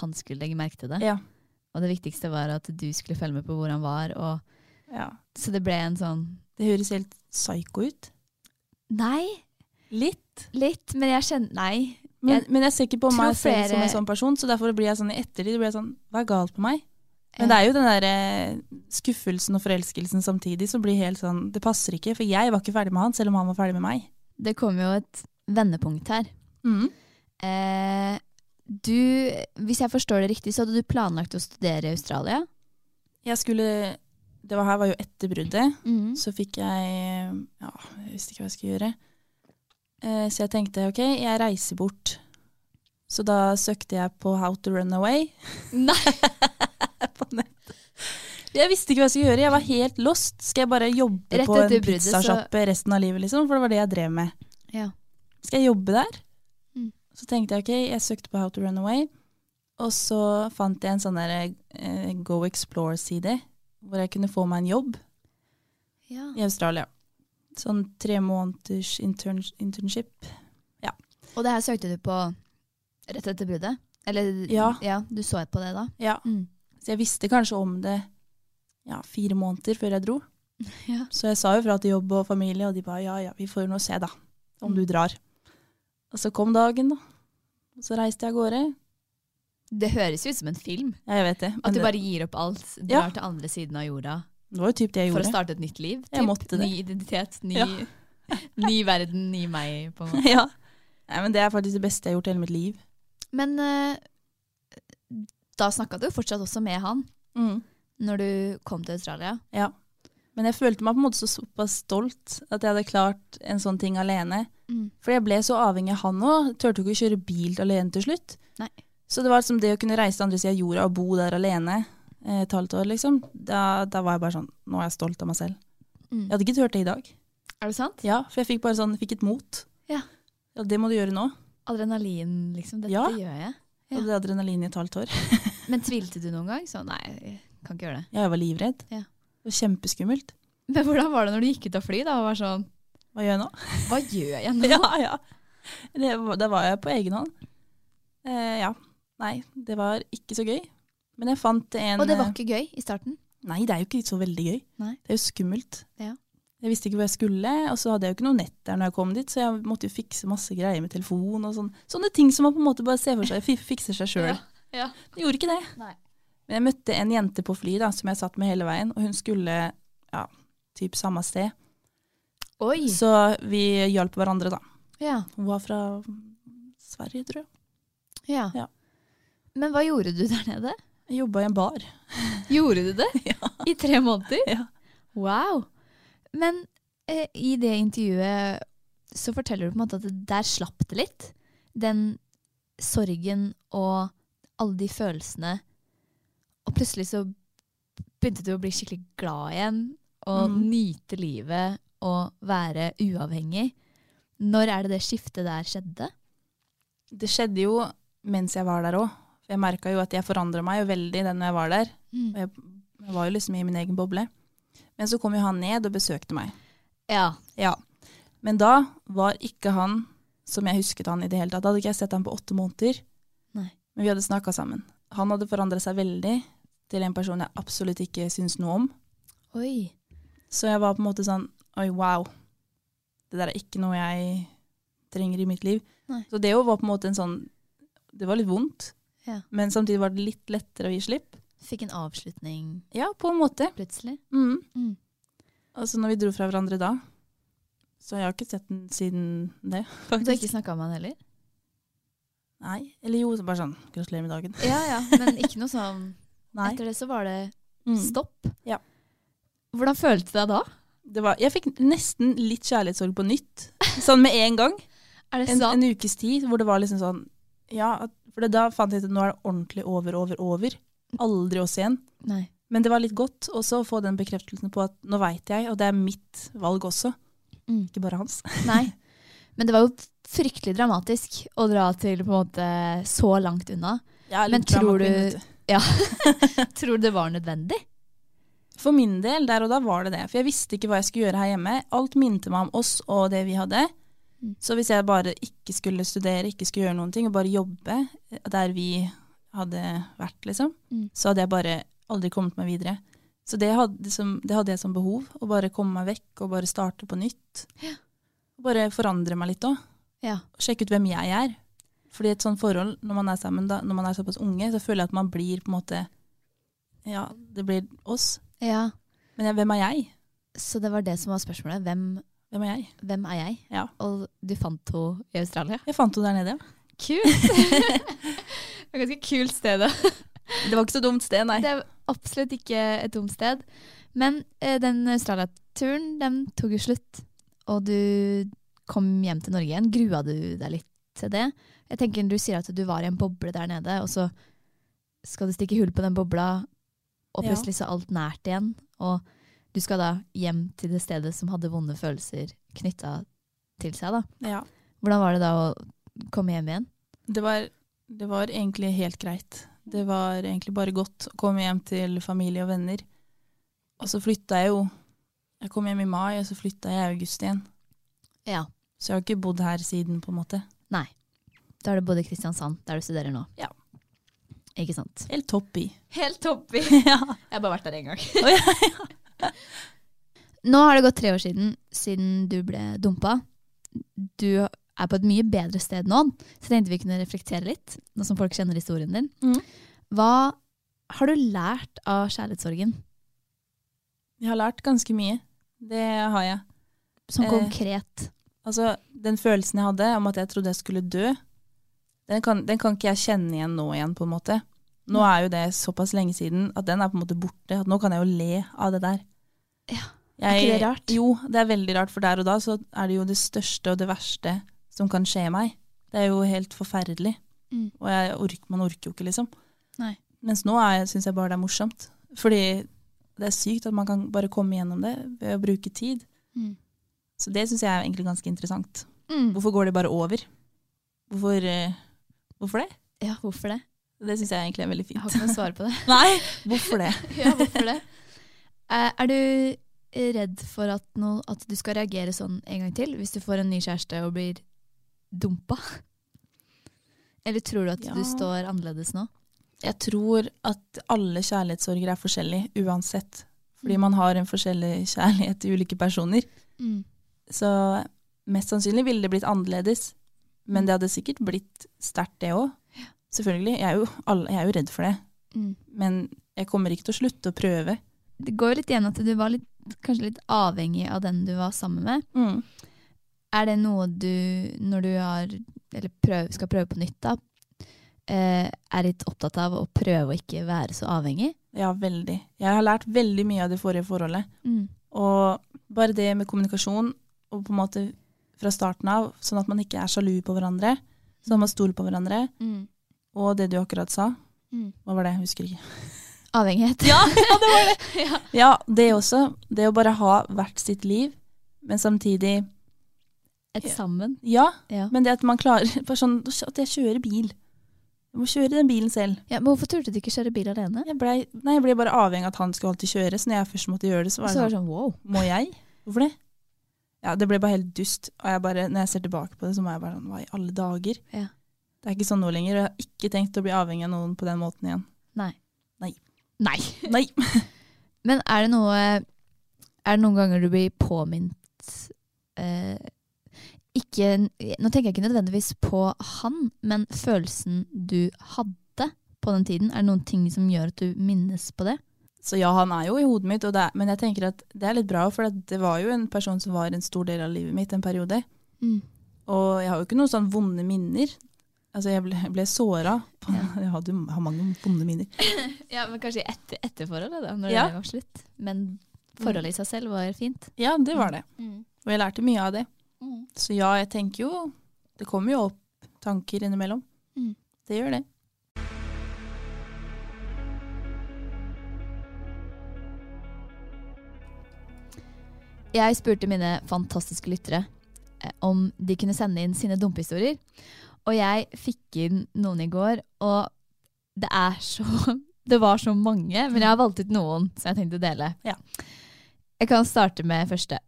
[SPEAKER 2] han skulle legge merke til det.
[SPEAKER 3] Ja.
[SPEAKER 2] Og det viktigste var at du skulle følge med på hvor han var. Og,
[SPEAKER 3] Ja.
[SPEAKER 2] så det ble en sånn
[SPEAKER 3] Det høres helt psyko ut.
[SPEAKER 2] Nei,
[SPEAKER 3] Litt.
[SPEAKER 2] litt, men jeg kjenner Nei.
[SPEAKER 3] Men, men jeg ser ikke på
[SPEAKER 2] tror
[SPEAKER 3] meg selv
[SPEAKER 2] flere-
[SPEAKER 3] som en sånn person, så derfor blir jeg sånn i ettertid blir jeg sånn, hva er galt på meg? Men det er jo den der eh, skuffelsen og forelskelsen samtidig som blir helt sånn, det passer ikke, for jeg var ikke ferdig med han, selv om han var ferdig med meg.
[SPEAKER 2] Det kom jo et vendepunkt her. Eh, du, hvis jeg forstår det riktig, så hadde du planlagt å studere i Australia.
[SPEAKER 3] Jeg skulle, det var her var jo etter bruddet,
[SPEAKER 2] Mm.
[SPEAKER 3] Så fikk jeg Ja, jeg visste ikke hva jeg skulle gjøre. Eh, Så jeg tenkte ok, jeg reiser bort. Så da søkte jeg på How to run away.
[SPEAKER 2] Nei!
[SPEAKER 3] på nett. Jeg visste ikke hva jeg skulle gjøre. Jeg var helt lost. Skal jeg bare jobbe
[SPEAKER 2] Rett
[SPEAKER 3] på en
[SPEAKER 2] etter bruddet, så-
[SPEAKER 3] pizzasjappe resten av livet, liksom? For det var det jeg drev med.
[SPEAKER 2] Ja.
[SPEAKER 3] Skal jeg jobbe der?
[SPEAKER 2] Mm.
[SPEAKER 3] Så tenkte jeg ok, jeg søkte på How to run away. Og så fant jeg en sånn der eh, Go Explore-side, hvor jeg kunne få meg en jobb
[SPEAKER 2] Ja.
[SPEAKER 3] i Australia. Sånn tre måneders intern internship.
[SPEAKER 2] Og det her søkte du på rett etter bruddet? Eller
[SPEAKER 3] Ja.
[SPEAKER 2] du så på det da?
[SPEAKER 3] Ja.
[SPEAKER 2] Mm.
[SPEAKER 3] Så jeg visste kanskje om det ja, fire måneder før jeg dro.
[SPEAKER 2] Ja.
[SPEAKER 3] Så jeg sa jo fra til jobb og familie, og de ba ja ja, vi får jo nå se da, om
[SPEAKER 2] Mm.
[SPEAKER 3] du drar. Og så kom dagen, da. Og så reiste jeg av gårde.
[SPEAKER 2] Det høres jo ut som en film.
[SPEAKER 3] Ja, jeg vet det. Men
[SPEAKER 2] At du
[SPEAKER 3] det,
[SPEAKER 2] bare gir opp alt,
[SPEAKER 3] Ja.
[SPEAKER 2] drar til andre siden av jorda
[SPEAKER 3] det var jo typ det jeg
[SPEAKER 2] for å
[SPEAKER 3] gjorde.
[SPEAKER 2] starte et nytt liv.
[SPEAKER 3] Jeg måtte det.
[SPEAKER 2] Ny identitet, ny,
[SPEAKER 3] Ja.
[SPEAKER 2] ny verden, ny meg. på en måte.
[SPEAKER 3] ja. Nei, men det er faktisk det beste jeg har gjort i hele mitt liv.
[SPEAKER 2] Men eh, da snakka du jo fortsatt også med han når du kom til Australia.
[SPEAKER 3] Ja. Men jeg følte meg på en måte så såpass stolt at jeg hadde klart en sånn ting alene.
[SPEAKER 2] Mm.
[SPEAKER 3] For jeg ble så avhengig av han òg. Turte jo ikke å kjøre bil alene til slutt.
[SPEAKER 2] Nei.
[SPEAKER 3] Så det var som det å kunne reise til andre sida av jorda og bo der alene eh, et halvt år, liksom. Da, da var jeg bare sånn Nå er jeg stolt av meg selv.
[SPEAKER 2] Mm.
[SPEAKER 3] Jeg hadde ikke turt det i dag.
[SPEAKER 2] Er det sant?
[SPEAKER 3] Ja, For jeg fikk bare sånn Fikk et mot.
[SPEAKER 2] Mm. Ja.
[SPEAKER 3] Ja, det må du gjøre nå.
[SPEAKER 2] Adrenalin, liksom. Dette
[SPEAKER 3] Ja.
[SPEAKER 2] gjør jeg. Ja.
[SPEAKER 3] Og det adrenalin i et halvt år.
[SPEAKER 2] Men tvilte du noen gang? Sånn, nei, jeg kan ikke gjøre det.
[SPEAKER 3] Ja, jeg var livredd.
[SPEAKER 2] Ja.
[SPEAKER 3] Det var kjempeskummelt.
[SPEAKER 2] Men hvordan var det når du gikk ut av fly da, og var sånn
[SPEAKER 3] Hva gjør jeg nå?
[SPEAKER 2] Hva gjør jeg nå?
[SPEAKER 3] Ja, ja. Det, var- da var jeg på egen hånd. Eh, ja. Nei, det var ikke så gøy. Men jeg fant en eh,
[SPEAKER 2] Og det var ikke gøy i starten.
[SPEAKER 3] Nei, det er jo ikke så veldig gøy.
[SPEAKER 2] Nei.
[SPEAKER 3] Det er jo skummelt.
[SPEAKER 2] Ja.
[SPEAKER 3] Jeg visste ikke hvor jeg skulle, og så hadde jeg jo ikke noe nett der når jeg kom dit, så jeg måtte jo fikse masse greier med telefon og sånn. Sånne ting som man på en måte bare ser for seg fi- fikser seg sjøl.
[SPEAKER 2] Ja, ja.
[SPEAKER 3] Jeg gjorde ikke det.
[SPEAKER 2] Nei.
[SPEAKER 3] Men jeg møtte en jente på fly da, som jeg satt med hele veien, og hun skulle ja, typ samme sted.
[SPEAKER 2] Oi!
[SPEAKER 3] Så vi hjalp hverandre, da.
[SPEAKER 2] Ja,
[SPEAKER 3] Hun var fra Sverige, tror jeg.
[SPEAKER 2] ja.
[SPEAKER 3] Ja.
[SPEAKER 2] Men hva gjorde du der nede?
[SPEAKER 3] Jeg jobba i en bar.
[SPEAKER 2] Gjorde du det?
[SPEAKER 3] Ja.
[SPEAKER 2] I tre måneder?
[SPEAKER 3] Ja.
[SPEAKER 2] Wow! Men eh, i det intervjuet så forteller du på en måte at det der slapp det litt. Den sorgen og alle de følelsene. Og plutselig så begynte du å bli skikkelig glad igjen. Og
[SPEAKER 3] Mm.
[SPEAKER 2] nyte livet og være uavhengig. Når er det det skiftet der skjedde?
[SPEAKER 3] Det skjedde jo mens jeg var der òg. Jeg merka jo at jeg forandra meg jo veldig den når jeg var der.
[SPEAKER 2] Mm.
[SPEAKER 3] Og jeg, jeg var jo liksom i min egen boble. Men så kom jo han ned og besøkte meg.
[SPEAKER 2] Ja.
[SPEAKER 3] Ja. Men da var ikke han som jeg husket han i det hele tatt. Da hadde ikke jeg sett han på åtte måneder.
[SPEAKER 2] Nei.
[SPEAKER 3] Men vi hadde snakka sammen. Han hadde forandra seg veldig til en person jeg absolutt ikke syns noe om.
[SPEAKER 2] Oi.
[SPEAKER 3] Så jeg var på en måte sånn Oi, wow. Det der er ikke noe jeg trenger i mitt liv.
[SPEAKER 2] Nei.
[SPEAKER 3] Så det jo var på en måte en sånn Det var litt vondt,
[SPEAKER 2] Ja.
[SPEAKER 3] men samtidig var det litt lettere å gi slipp.
[SPEAKER 2] Fikk en avslutning
[SPEAKER 3] Ja, på en måte.
[SPEAKER 2] plutselig.
[SPEAKER 3] Mm.
[SPEAKER 2] Mm.
[SPEAKER 3] Og så når vi dro fra hverandre da Så jeg har ikke sett den siden det,
[SPEAKER 2] Du har ikke
[SPEAKER 3] faktisk.
[SPEAKER 2] snakka med han heller?
[SPEAKER 3] Nei. Eller jo, så bare sånn Gratulerer med dagen.
[SPEAKER 2] Ja, ja, men ikke noe sånn
[SPEAKER 3] Nei.
[SPEAKER 2] Etter det så var det
[SPEAKER 3] Mm.
[SPEAKER 2] stopp.
[SPEAKER 3] Ja.
[SPEAKER 2] Hvordan følte du deg da?
[SPEAKER 3] Det var, jeg fikk nesten litt kjærlighetssorg på nytt. Sånn med en gang.
[SPEAKER 2] Er det
[SPEAKER 3] en,
[SPEAKER 2] sant?
[SPEAKER 3] en ukes tid hvor det var liksom sånn ja, at, For det, da fant jeg ut at nå er det ordentlig over, over, over. Aldri oss igjen.
[SPEAKER 2] Nei.
[SPEAKER 3] Men det var litt godt også å få den bekreftelsen på at nå veit jeg, og det er mitt valg også.
[SPEAKER 2] Mm.
[SPEAKER 3] Ikke bare hans.
[SPEAKER 2] Nei. Men det var jo fryktelig dramatisk å dra til på en måte så langt unna. Men tror du- Tror du det var nødvendig?
[SPEAKER 3] For min del der og da var det det. For jeg visste ikke hva jeg skulle gjøre her hjemme. Alt minte meg om oss og det vi hadde.
[SPEAKER 2] Mm.
[SPEAKER 3] Så hvis jeg bare ikke skulle studere, ikke skulle gjøre noen ting, og bare jobbe eh, der vi hadde vært, liksom,
[SPEAKER 2] Mm.
[SPEAKER 3] så hadde jeg bare aldri kommet meg videre. Så det hadde, som, det hadde jeg som behov. Å bare komme meg vekk og bare starte på nytt. Bare forandre meg litt òg.
[SPEAKER 2] Ja.
[SPEAKER 3] Sjekke ut hvem jeg er. Fordi et sånt forhold, når man er sammen, da, når man er såpass unge, så føler jeg at man blir på en måte Ja, det blir oss.
[SPEAKER 2] ja.
[SPEAKER 3] Men jeg, hvem er jeg?
[SPEAKER 2] Så det var det som var spørsmålet. Hvem,
[SPEAKER 3] Hvem er jeg?
[SPEAKER 2] hvem er jeg?
[SPEAKER 3] Ja.
[SPEAKER 2] Og du fant henne i Australia?
[SPEAKER 3] Jeg fant henne der nede. ja.
[SPEAKER 2] Kult! det er ganske kult sted. da.
[SPEAKER 3] Det var ikke så dumt sted, nei.
[SPEAKER 2] Det er absolutt ikke et dumt sted. Men eh, den Australia-turen den tok jo slutt, og du kom hjem til Norge igjen. Grua du deg litt til det? Jeg tenker Du sier at du var i en boble der nede, og så skal du stikke hull på den bobla, og
[SPEAKER 3] Ja.
[SPEAKER 2] plutselig så er alt nært igjen. Og du skal da hjem til det stedet som hadde vonde følelser knytta til seg. da.
[SPEAKER 3] Ja.
[SPEAKER 2] Hvordan var det da å komme hjem igjen?
[SPEAKER 3] Det, var, det var egentlig helt greit. Det var egentlig bare godt å komme hjem til familie og venner. Og så flytta jeg jo Jeg kom hjem i mai, og så flytta jeg i august igjen.
[SPEAKER 2] Ja.
[SPEAKER 3] Så jeg har ikke bodd her siden, på en måte.
[SPEAKER 2] Da er det både Kristiansand, der du studerer nå.
[SPEAKER 3] Ja.
[SPEAKER 2] Ikke sant?
[SPEAKER 3] Helt topp i.
[SPEAKER 2] Helt toppig.
[SPEAKER 3] ja.
[SPEAKER 2] Jeg har bare vært der én gang.
[SPEAKER 3] Å, ja,
[SPEAKER 2] Nå har det gått tre år siden, siden du ble dumpa. Du er på et mye bedre sted nå, så tenkte vi kunne reflektere litt, nå som folk kjenner historien din.
[SPEAKER 3] Mhm.
[SPEAKER 2] Hva har du lært av kjærlighetssorgen,
[SPEAKER 3] Jeg har lært ganske mye. Det har jeg.
[SPEAKER 2] sånn
[SPEAKER 3] Eh.
[SPEAKER 2] konkret?
[SPEAKER 3] Altså, den følelsen jeg hadde om at jeg trodde jeg skulle dø, den kan, den kan ikke jeg kjenne igjen nå igjen, på en måte. Nå er jo det såpass lenge siden at den er på en måte borte. At nå kan jeg jo le av det der.
[SPEAKER 2] Ja.
[SPEAKER 3] Jeg,
[SPEAKER 2] ikke det rart?
[SPEAKER 3] Jo, det er veldig rart, for der og da så er det jo det største og det verste som kan skje meg. Det er jo helt forferdelig.
[SPEAKER 2] Mm.
[SPEAKER 3] Og jeg ork, man orker jo ikke, liksom.
[SPEAKER 2] Nei.
[SPEAKER 3] Mens nå syns jeg bare det er morsomt. Fordi det er sykt at man kan bare komme gjennom det ved å bruke tid.
[SPEAKER 2] Mm.
[SPEAKER 3] Så det syns jeg er egentlig ganske interessant.
[SPEAKER 2] Mm.
[SPEAKER 3] Hvorfor går det bare over? Hvorfor, eh, hvorfor det?
[SPEAKER 2] Ja, hvorfor det?
[SPEAKER 3] Det syns jeg egentlig er veldig
[SPEAKER 2] Jeg har
[SPEAKER 3] fint.
[SPEAKER 2] ikke noe svar på det.
[SPEAKER 3] Nei, hvorfor det?
[SPEAKER 2] Ja, hvorfor det? Eh, Er du redd for at, no, at du skal reagere sånn en gang til, hvis du får en ny kjæreste og blir dumpa? Eller tror du at
[SPEAKER 3] Ja.
[SPEAKER 2] du står annerledes nå?
[SPEAKER 3] Jeg tror at alle kjærlighetssorger er forskjellige uansett. Fordi man har en forskjellig kjærlighet til ulike personer.
[SPEAKER 2] Mm.
[SPEAKER 3] Så mest sannsynlig ville det blitt annerledes. Men det hadde sikkert blitt sterkt, det òg. Selvfølgelig. Jeg er, jo, alle, jeg er jo redd for det.
[SPEAKER 2] Mm.
[SPEAKER 3] Men jeg kommer ikke til å slutte å prøve.
[SPEAKER 2] Det går jo litt igjen at du var litt, kanskje litt avhengig av den du var sammen med.
[SPEAKER 3] Mm.
[SPEAKER 2] Er det noe du, når du har, eller prøv, skal prøve på nytt, da, eh, er litt opptatt av å prøve å ikke være så avhengig?
[SPEAKER 3] Ja, veldig. Jeg har lært veldig mye av det forrige forholdet. Og bare det med kommunikasjon, og på en måte fra starten av, sånn at man ikke er sjalu på hverandre, sånn at man stoler på hverandre. Og det du akkurat sa,
[SPEAKER 2] Mm.
[SPEAKER 3] hva var det? Jeg husker ikke.
[SPEAKER 2] Avhengighet? Ja, det var det! ja.
[SPEAKER 3] Ja, det også. Det å bare ha hvert sitt liv, men samtidig
[SPEAKER 2] Et sammen.
[SPEAKER 3] Ja,
[SPEAKER 2] Ja.
[SPEAKER 3] men det at man klarer bare sånn, At jeg kjører bil. Jeg må kjøre den bilen selv.
[SPEAKER 2] Ja, men hvorfor turte du ikke kjøre bil alene?
[SPEAKER 3] Jeg ble, nei, jeg ble bare avhengig av at han skulle alltid kjøre, så når jeg først måtte gjøre det, så var det
[SPEAKER 2] Så var det
[SPEAKER 3] sånn
[SPEAKER 2] sånn, wow.
[SPEAKER 3] Må jeg? Hvorfor det? Ja, det ble bare helt dust. Og jeg bare, når jeg ser tilbake på det, så må jeg bare sånn, hva i alle dager?
[SPEAKER 2] Ja.
[SPEAKER 3] Det er ikke sånn nå lenger, og jeg har ikke tenkt å bli avhengig av noen på den måten igjen.
[SPEAKER 2] Nei.
[SPEAKER 3] Nei.
[SPEAKER 2] Nei.
[SPEAKER 3] Nei.
[SPEAKER 2] Men er det noe Er det noen ganger du blir påminnet eh, Ikke Nå tenker jeg ikke nødvendigvis på han, men følelsen du hadde på den tiden. Er det noen ting som gjør at du minnes på det?
[SPEAKER 3] Så ja, han er jo i hodet mitt, og det er, men jeg tenker at det er litt bra, for at det var jo en person som var en stor del av livet mitt en periode. Og jeg har jo ikke noen sånn vonde minner. Altså, jeg ble, jeg ble såra. på- Jeg hadde jo jeg har mange vonde minner.
[SPEAKER 2] Ja, men kanskje etter, forholdet, da, når
[SPEAKER 3] det Ja.
[SPEAKER 2] var slutt. Men forholdet i seg selv var fint.
[SPEAKER 3] Ja, det var det.
[SPEAKER 2] Mm.
[SPEAKER 3] Og jeg lærte mye av det. Så ja, jeg tenker jo Det kommer jo opp tanker innimellom.
[SPEAKER 2] Mm.
[SPEAKER 3] Det gjør det.
[SPEAKER 2] Jeg spurte mine fantastiske lyttere eh, om de kunne sende inn sine dumpehistorier. Og jeg fikk inn noen i går, og det er så Det var så mange, men jeg har valgt ut noen som jeg tenkte å dele.
[SPEAKER 3] Ja.
[SPEAKER 2] Jeg kan starte med første.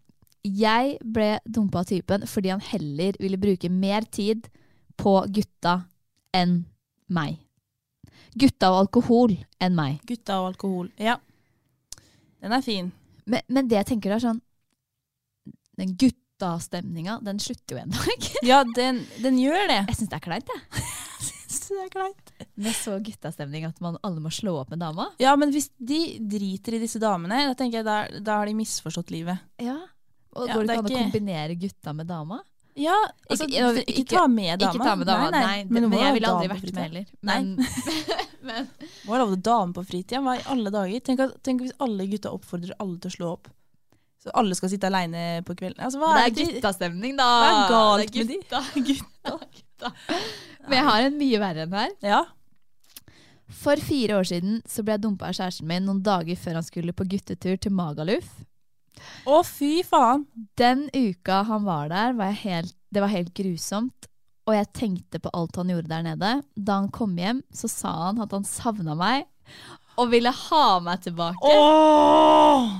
[SPEAKER 2] Jeg ble dumpa av typen fordi han heller ville bruke mer tid på gutta enn meg. Gutta og alkohol enn meg.
[SPEAKER 3] Gutta og alkohol. Ja. Den er fin.
[SPEAKER 2] Men, men det jeg tenker er sånn Den guttastemninga, den slutter jo en dag.
[SPEAKER 3] Ja, den, den gjør det.
[SPEAKER 2] Jeg syns det er kleint, jeg.
[SPEAKER 3] Det er kleint.
[SPEAKER 2] Med så guttastemning at man alle må slå opp med dama.
[SPEAKER 3] Ja, men hvis de driter i disse damene, da tenker jeg da, da har de misforstått livet.
[SPEAKER 2] Ja. Og
[SPEAKER 3] Ja,
[SPEAKER 2] går det
[SPEAKER 3] det
[SPEAKER 2] ikke
[SPEAKER 3] er
[SPEAKER 2] an å
[SPEAKER 3] ikke-
[SPEAKER 2] kombinere gutta med dama?
[SPEAKER 3] Ja,
[SPEAKER 2] Ikke-
[SPEAKER 3] altså, ikke,
[SPEAKER 2] ja,
[SPEAKER 3] ikke,
[SPEAKER 2] ikke-
[SPEAKER 3] ta med dama.
[SPEAKER 2] Ikke ta med dama, nei. det- men,
[SPEAKER 3] hvor er
[SPEAKER 2] jeg ville aldri
[SPEAKER 3] dame
[SPEAKER 2] vært
[SPEAKER 3] på
[SPEAKER 2] med
[SPEAKER 3] fritiden?
[SPEAKER 2] heller.
[SPEAKER 3] Nei.
[SPEAKER 2] Men, men
[SPEAKER 3] Hva er lov til dame på fritida? Hva i alle dager? Tenk, at, tenk hvis alle gutta oppfordrer alle til å slå opp. Så alle skal sitte aleine på kvelden. Altså, hva
[SPEAKER 2] det
[SPEAKER 3] er
[SPEAKER 2] er guttastemning, da!
[SPEAKER 3] Hva er
[SPEAKER 2] Det
[SPEAKER 3] galt
[SPEAKER 2] er
[SPEAKER 3] med de?
[SPEAKER 2] gutta, gutta, gutta. Men jeg har en mye verre enn her.
[SPEAKER 3] Ja.
[SPEAKER 2] For fire år siden så ble jeg dumpa av kjæresten min noen dager før han skulle på guttetur til Magaluf.
[SPEAKER 3] Å, fy faen!
[SPEAKER 2] Den uka han var der, var jeg helt, det var helt grusomt. Og jeg tenkte på alt han gjorde der nede. Da han kom hjem, så sa han at han savna meg og ville ha meg tilbake.
[SPEAKER 3] Åh!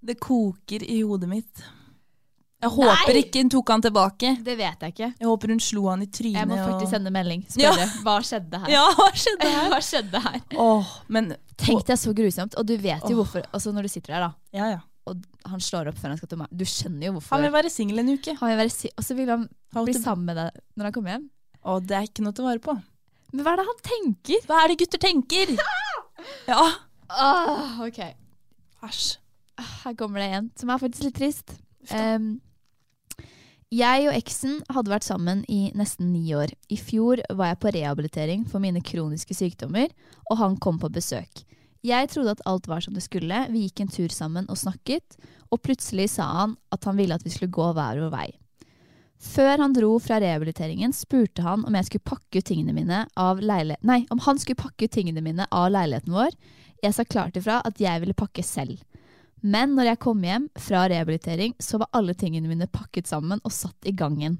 [SPEAKER 3] Det koker i hodet mitt. Jeg håper ikke hun tok han tilbake.
[SPEAKER 2] Det vet jeg ikke.
[SPEAKER 3] Jeg håper hun slo han i trynet.
[SPEAKER 2] Jeg må
[SPEAKER 3] og-
[SPEAKER 2] faktisk sende melding.
[SPEAKER 3] Ja.
[SPEAKER 2] Spørre hva skjedde her.
[SPEAKER 3] Ja, hva skjedde her?
[SPEAKER 2] Hva skjedde her?
[SPEAKER 3] Åh, men
[SPEAKER 2] Tenk deg så grusomt. Og du vet jo
[SPEAKER 3] Åh.
[SPEAKER 2] hvorfor. Altså når du sitter der, da.
[SPEAKER 3] Ja, ja.
[SPEAKER 2] Og han slår opp før han skal til meg. Du skjønner jo hvorfor.
[SPEAKER 3] Han vil være singel en uke.
[SPEAKER 2] Han vil være si og så vil han
[SPEAKER 3] Han
[SPEAKER 2] bli
[SPEAKER 3] til-
[SPEAKER 2] sammen med deg når han kommer hjem.
[SPEAKER 3] Å, det er ikke noe til å vare på.
[SPEAKER 2] Men hva er det han tenker?
[SPEAKER 3] Hva er det gutter tenker? Ja.
[SPEAKER 2] Åh, ok.
[SPEAKER 3] Æsj.
[SPEAKER 2] Ah, Her kommer det en som er faktisk litt trist. Em, jeg og eksen hadde vært sammen i nesten ni år. I fjor var jeg på rehabilitering for mine kroniske sykdommer, og han kom på besøk. Jeg trodde at alt var som det skulle, vi gikk en tur sammen og snakket, og plutselig sa han at han ville at vi skulle gå hver vår vei. Før han dro fra rehabiliteringen, spurte han om jeg skulle pakke ut tingene mine av leile... Nei, om han skulle pakke ut tingene mine av leiligheten vår. Jeg sa klart ifra at jeg ville pakke selv. Men når jeg kom hjem fra rehabilitering, så var alle tingene mine pakket sammen og satt i gangen.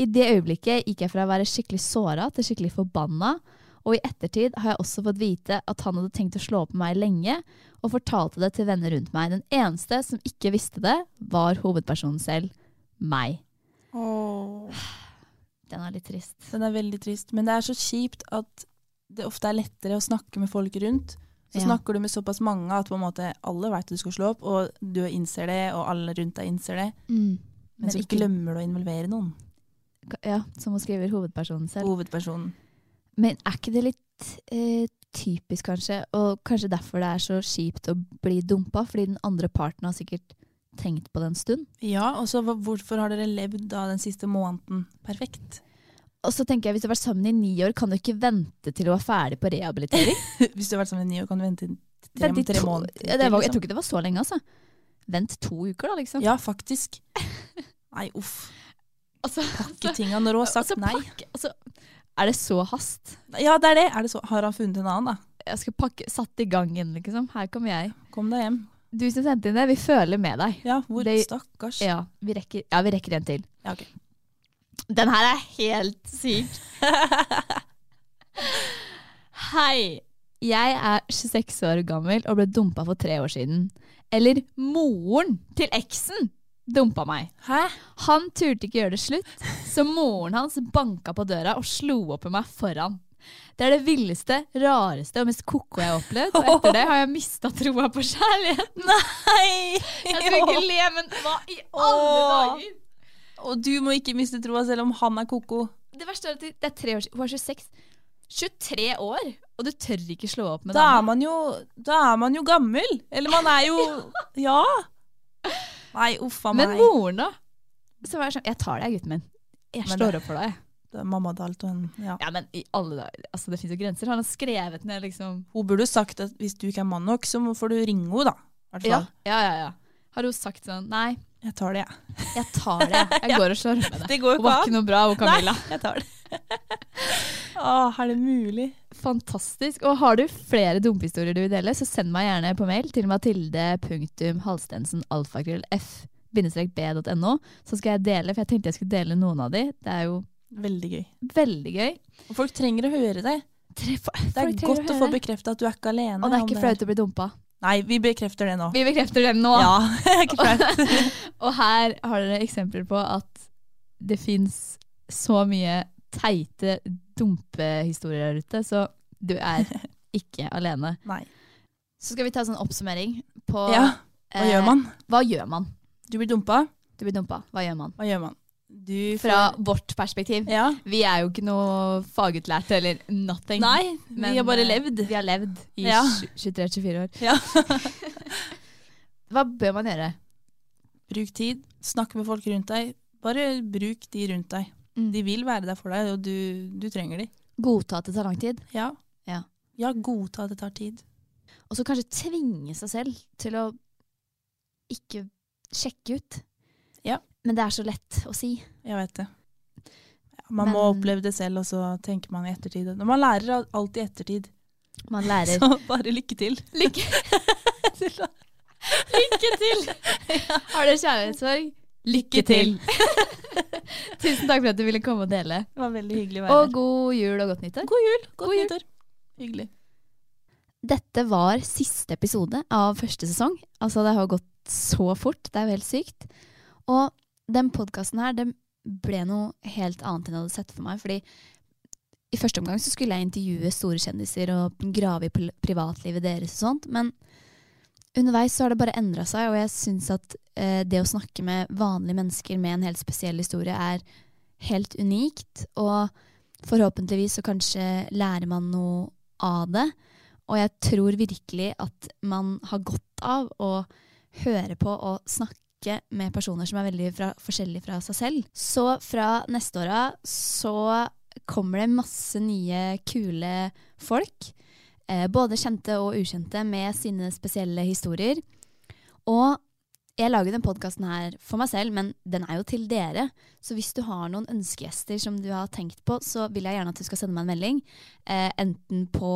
[SPEAKER 2] I det øyeblikket gikk jeg fra å være skikkelig såra til skikkelig forbanna, og i ettertid har jeg også fått vite at han hadde tenkt å slå opp med meg lenge, og fortalte det til venner rundt meg. Den eneste som ikke visste det, var hovedpersonen selv, meg. Den er litt trist.
[SPEAKER 3] Den er veldig trist. Men det er så kjipt at det ofte er lettere å snakke med folk rundt. Så
[SPEAKER 2] Ja.
[SPEAKER 3] snakker du med såpass mange at på en måte alle vet at du skal slå opp, og du innser det, og alle rundt deg innser det. Men, Mm. så glemmer du å involvere noen.
[SPEAKER 2] Ja, som hun skriver, hovedpersonen selv.
[SPEAKER 3] Hovedpersonen.
[SPEAKER 2] Men er ikke det litt eh, typisk, kanskje? Og kanskje derfor det er så kjipt å bli dumpa? Fordi den andre parten har sikkert tenkt på det en stund.
[SPEAKER 3] Ja, og så hva- hvorfor har dere levd da den siste måneden perfekt?
[SPEAKER 2] Og så tenker jeg, hvis du har vært sammen i ni år, kan du ikke vente til du var ferdig på rehabilitering?
[SPEAKER 3] Hvis du har vært sammen i ni år, kan du vente tre,
[SPEAKER 2] Vent i
[SPEAKER 3] tre
[SPEAKER 2] to-
[SPEAKER 3] måneder.
[SPEAKER 2] Ja, det
[SPEAKER 3] til,
[SPEAKER 2] var,
[SPEAKER 3] liksom.
[SPEAKER 2] jeg tror ikke det var så lenge, altså. Vent to uker, da, liksom.
[SPEAKER 3] Ja, faktisk. Nei, uff.
[SPEAKER 2] Altså,
[SPEAKER 3] Ikke tinga når hun har sagt
[SPEAKER 2] altså,
[SPEAKER 3] nei.
[SPEAKER 2] pakk- altså, er det så hast?
[SPEAKER 3] Ja, det er det. Er det så? Har han funnet en annen, da?
[SPEAKER 2] Jeg skal pakke Satt i gangen, liksom. Her kommer jeg.
[SPEAKER 3] Kom deg hjem.
[SPEAKER 2] Du som sendte inn det, vi føler med deg.
[SPEAKER 3] Ja, hvor
[SPEAKER 2] Det-
[SPEAKER 3] Stakkars.
[SPEAKER 2] Ja, vi rekker, ja, vi rekker en til.
[SPEAKER 3] Ja, ok.
[SPEAKER 2] Den her er helt syk. Hei. Jeg er 26 år gammel og ble dumpa for tre år siden. Eller moren til eksen dumpa meg.
[SPEAKER 3] Hæ?
[SPEAKER 2] Han turte ikke gjøre det slutt, så moren hans banka på døra og slo opp med meg foran. Det er det villeste, rareste og mest koko jeg har opplevd, og etter det har jeg mista troa på kjærligheten.
[SPEAKER 3] Nei!
[SPEAKER 2] Jeg skal ikke le, men hva i alle
[SPEAKER 3] Åh.
[SPEAKER 2] dager?
[SPEAKER 3] Og du må ikke miste troa selv om han er koko.
[SPEAKER 2] Det verste er at det er tre år siden. Hun er 26. 23 år, og du tør ikke slå opp med
[SPEAKER 3] Da er
[SPEAKER 2] dama.
[SPEAKER 3] man jo, da er man jo gammel. Eller man er jo Ja! Nei, uff a meg.
[SPEAKER 2] Men moren, da? Så var jeg sånn Jeg tar deg, gutten min. Jeg
[SPEAKER 3] Men
[SPEAKER 2] slår
[SPEAKER 3] det-
[SPEAKER 2] opp for deg. jeg.
[SPEAKER 3] Det er Mamma til alt og en ja.
[SPEAKER 2] Ja, men i alle dager. Altså, det fins jo grenser. Han har skrevet ned, liksom.
[SPEAKER 3] Hun burde jo sagt at hvis du ikke er mann nok, så må- får du ringe henne, da. I hvert
[SPEAKER 2] Ja,
[SPEAKER 3] fall.
[SPEAKER 2] ja, ja. ja. Har hun sagt sånn Nei,
[SPEAKER 3] Jeg tar det, jeg.
[SPEAKER 2] jeg tar det. Jeg går og slår opp med deg.
[SPEAKER 3] Det går jo
[SPEAKER 2] Hun var
[SPEAKER 3] ikke
[SPEAKER 2] ikke
[SPEAKER 3] an.
[SPEAKER 2] noe bra, hun Camilla.
[SPEAKER 3] Nei, jeg tar det. Å, er det mulig?
[SPEAKER 2] Fantastisk. Og har du flere dumpehistorier du vil dele, så send meg gjerne på mail til mathilde.halstensenalfakrøllf-b.no, så skal jeg dele, for jeg tenkte jeg skulle dele noen av de. Det er jo
[SPEAKER 3] Veldig gøy.
[SPEAKER 2] veldig gøy.
[SPEAKER 3] Og folk trenger å høre det. Det er godt å, få bekrefta at du er ikke alene.
[SPEAKER 2] Og det er
[SPEAKER 3] om
[SPEAKER 2] ikke flaut å bli dumpa.
[SPEAKER 3] Nei, vi bekrefter det nå.
[SPEAKER 2] Vi bekrefter den nå.
[SPEAKER 3] Ja, det er ikke flaut.
[SPEAKER 2] Og her har dere eksempler på at det fins så mye teite dumpehistorier der ute, så du er ikke alene.
[SPEAKER 3] Nei.
[SPEAKER 2] Så skal vi ta en sånn oppsummering på
[SPEAKER 3] Ja, hva gjør man?
[SPEAKER 2] Eh, hva gjør man?
[SPEAKER 3] Du blir dumpa.
[SPEAKER 2] Du blir dumpa. Hva gjør man?
[SPEAKER 3] Hva gjør man? Du
[SPEAKER 2] Fra vårt perspektiv.
[SPEAKER 3] Ja.
[SPEAKER 2] Vi er jo ikke noe fagutlært eller nothing.
[SPEAKER 3] Nei,
[SPEAKER 2] men,
[SPEAKER 3] vi har bare
[SPEAKER 2] eh,
[SPEAKER 3] levd.
[SPEAKER 2] Vi har levd i
[SPEAKER 3] Ja.
[SPEAKER 2] 23-24 år.
[SPEAKER 3] Ja.
[SPEAKER 2] Hva bør man gjøre?
[SPEAKER 3] Bruk tid. Snakk med folk rundt deg. Bare bruk de rundt deg.
[SPEAKER 2] Mm.
[SPEAKER 3] De vil være der for deg, og du, du trenger de.
[SPEAKER 2] Godta at det tar lang tid.
[SPEAKER 3] Ja.
[SPEAKER 2] Ja.
[SPEAKER 3] ja, godta at det tar tid.
[SPEAKER 2] Og så kanskje tvinge seg selv til å ikke sjekke ut.
[SPEAKER 3] Ja.
[SPEAKER 2] Men det er så lett å si.
[SPEAKER 3] Jeg vet det. Ja, man må
[SPEAKER 2] Men-
[SPEAKER 3] oppleve det selv, og så tenker man i ettertid. Og Man lærer al- alltid i ettertid.
[SPEAKER 2] Man lærer.
[SPEAKER 3] Så bare lykke til.
[SPEAKER 2] Lykke, lykke til! Har dere kjærlighetssorg? Lykke til! Tusen takk for at du ville komme og dele.
[SPEAKER 3] Det var veldig hyggelig å være
[SPEAKER 2] Og
[SPEAKER 3] her.
[SPEAKER 2] god jul og godt nyttår.
[SPEAKER 3] God jul! Godt
[SPEAKER 2] God jul.
[SPEAKER 3] nyttår. Hyggelig.
[SPEAKER 2] Dette var siste episode av første sesong. Altså, det har gått så fort. Det er jo helt sykt. Og den podkasten her, den ble noe helt annet enn jeg hadde sett for meg. Fordi i første omgang så skulle jeg intervjue store kjendiser og grave i pl- privatlivet deres og sånt. Men underveis så har det bare endra seg, og jeg syns at eh, det å snakke med vanlige mennesker med en helt spesiell historie er helt unikt. Og forhåpentligvis så kanskje lærer man noe av det. Og jeg tror virkelig at man har godt av å høre på og snakke med personer som er veldig fra, forskjellige fra seg selv. Så fra neste år av så kommer det masse nye kule folk. Eh, både kjente og ukjente med sine spesielle historier. Og jeg lager den podkasten her for meg selv, men den er jo til dere. Så hvis du har noen ønskegjester som du har tenkt på, så vil jeg gjerne at du skal sende meg en melding. Eh, enten på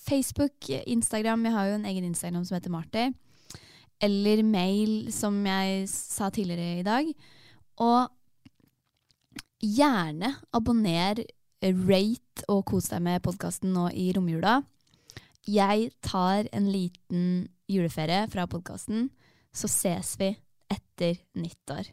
[SPEAKER 2] Facebook, Instagram, jeg har jo en egen Instagram som heter Marty. Eller mail, som jeg sa tidligere i dag. Og gjerne abonner, rate og kos deg med podkasten nå i romjula. Jeg tar en liten juleferie fra podkasten, så ses vi etter nyttår.